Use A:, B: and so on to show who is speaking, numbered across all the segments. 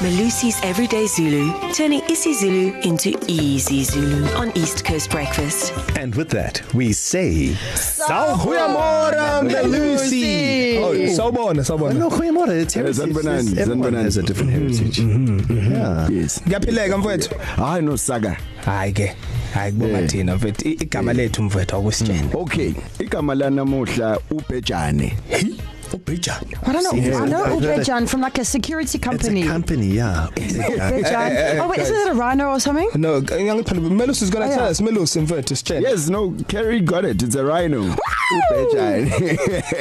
A: Malusi's Everyday Zulu, turning isiZulu into easy Zulu on East Coast Breakfast.
B: And with that, we say
C: Sawubona Melusi.
B: Oh, Eh,
C: Sawubona, sawubona.
B: no, goeiemôre. It's
D: Yeah,
B: heritage.
D: Zanbanani,
B: It's- everyone
D: Zanbanani.
B: has a different heritage. Yeah.
D: Yes.
C: Ngiyaphileka mfethu.
D: Hayi no saga.
C: Hayi ke. Hayi kubona
D: Yeah.
C: thina mfethu. I- Igama lethu mfethu
B: Mm.
C: akusitshela.
D: Okay, igama la namuhla uBhejane.
C: Ubhijana.
E: I don't know. Yeah. I know
B: Yeah.
E: Uberjan from like a security
B: It's
E: company.
B: a company, yeah.
E: Uberjan. Oh, wait, isn't it a rhino or something?
C: No, ngiyangiphala Melusi is going to
E: Oh,
C: tell
E: yeah.
C: us Melusi mfethu sitshela.
D: Yes, no, Kerry got it. It's a rhino. uBhejane.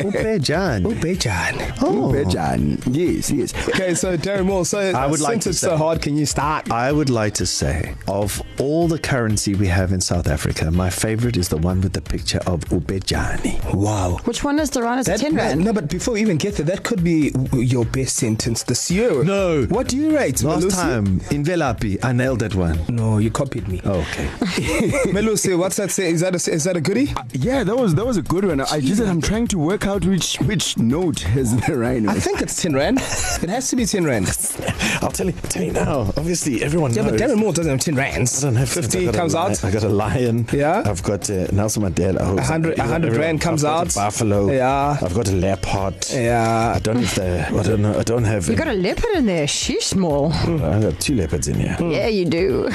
B: Ubejan.
C: Ubhijana.
B: Oh.
D: uBhejane. Yes, yes.
C: Okay, so Darren Moore, so
B: I would
C: since
B: like to
C: it's
B: say-
C: so hard, can you start?
B: I would like to say, of all the currency we have in South Africa, my favorite is the one with the picture of Ubejani.
C: Wow.
E: Which one is the rhino? Is it 10
C: that,
E: rand?
C: no, but before we even get there, that could be w- your best sentence this year.
B: No.
C: What do you rate?
B: Last
C: Melusi?
B: time in Velapi, I nailed that one.
C: No, you copied me. Oh.
B: Okay.
C: Melusi, what's that say? Is that a, is that a goodie?
D: Yeah, that was that was a good one. I just I'm trying to work out which which note has the rhino.
C: I think it's 10 rand. it has to be 10 rand.
B: I'll tell you, tell you now. Obviously, everyone
C: Yeah, no, but Darren Moore doesn't have 10 rands.
B: I don't have
C: 50
B: I've got a
C: comes
B: li-
C: out.
B: I got a lion.
C: Yeah.
B: I've got uh, Nelson Mandela. Oh,
C: 100
B: I've got
C: 100
B: everyone.
C: rand comes
B: I've got
C: out.
B: A øh, buffalo.
C: Yeah.
B: I've got a leopard.
C: Yeah.
B: øh, I don't have the. I don't know. I don't have. øh,
E: You got a leopard in there. She's small.
B: I got two leopards in here.
E: Yeah, you do.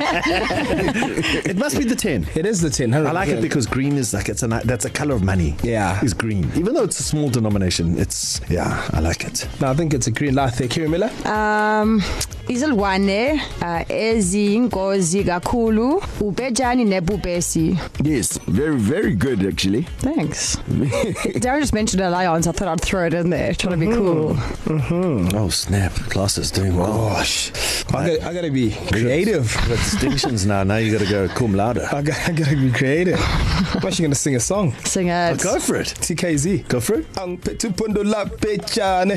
B: Mm. it must be the ten.
C: It is the 10. 100
B: I like it
C: rand.
B: because green is like it's a ni- that's a color of money.
C: Yeah.
B: is green. Even though it's a small denomination, it's yeah, I like it.
C: No, I think it's a green light there. Kira Miller?
E: Um, izilwane uh, eziyingozi kakhulu ubejani nebubesi
D: Yes, very very good actually.
E: thanks darren just mentioned a lion so i thought i'd throw it in there trying to be cool
B: Oh snap! Class is doing well. Gosh,
C: I
B: I
C: gotta, I gotta be creative.
B: got distinctions now. Now you got to go cum laude.
C: I gotta, I gotta be creative. I'm actually gonna sing a song.
E: sing it
B: Go for it.
C: TKZ.
B: Go for it.
C: Angiphethupundo la pechane.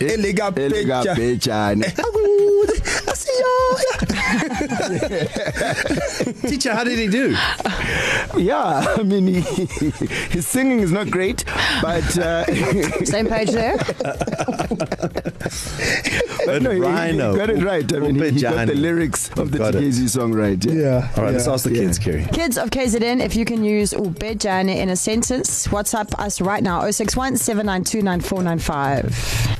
B: Eh,
C: Eliga
D: Elga
C: pecha.
D: Bhejane.
C: Akude asiyoya.
B: Teacher, how did he do?
D: Yeah, I mean he, his singing is not great, but uh,
E: same page there
D: but no, he, he
B: rhino.
D: got it right. I mean he, he got the
B: Ubhejane.
D: lyrics of the
B: Got it.
D: TKZ song right. Yeah.
C: Yeah.
B: All right, yeah. let's
C: yeah.
B: ask the
D: Yeah.
B: kids, Kerry.
E: Kids of KZN, if you can use oh ubejane in a sentence, WhatsApp us right now 061 792 9495.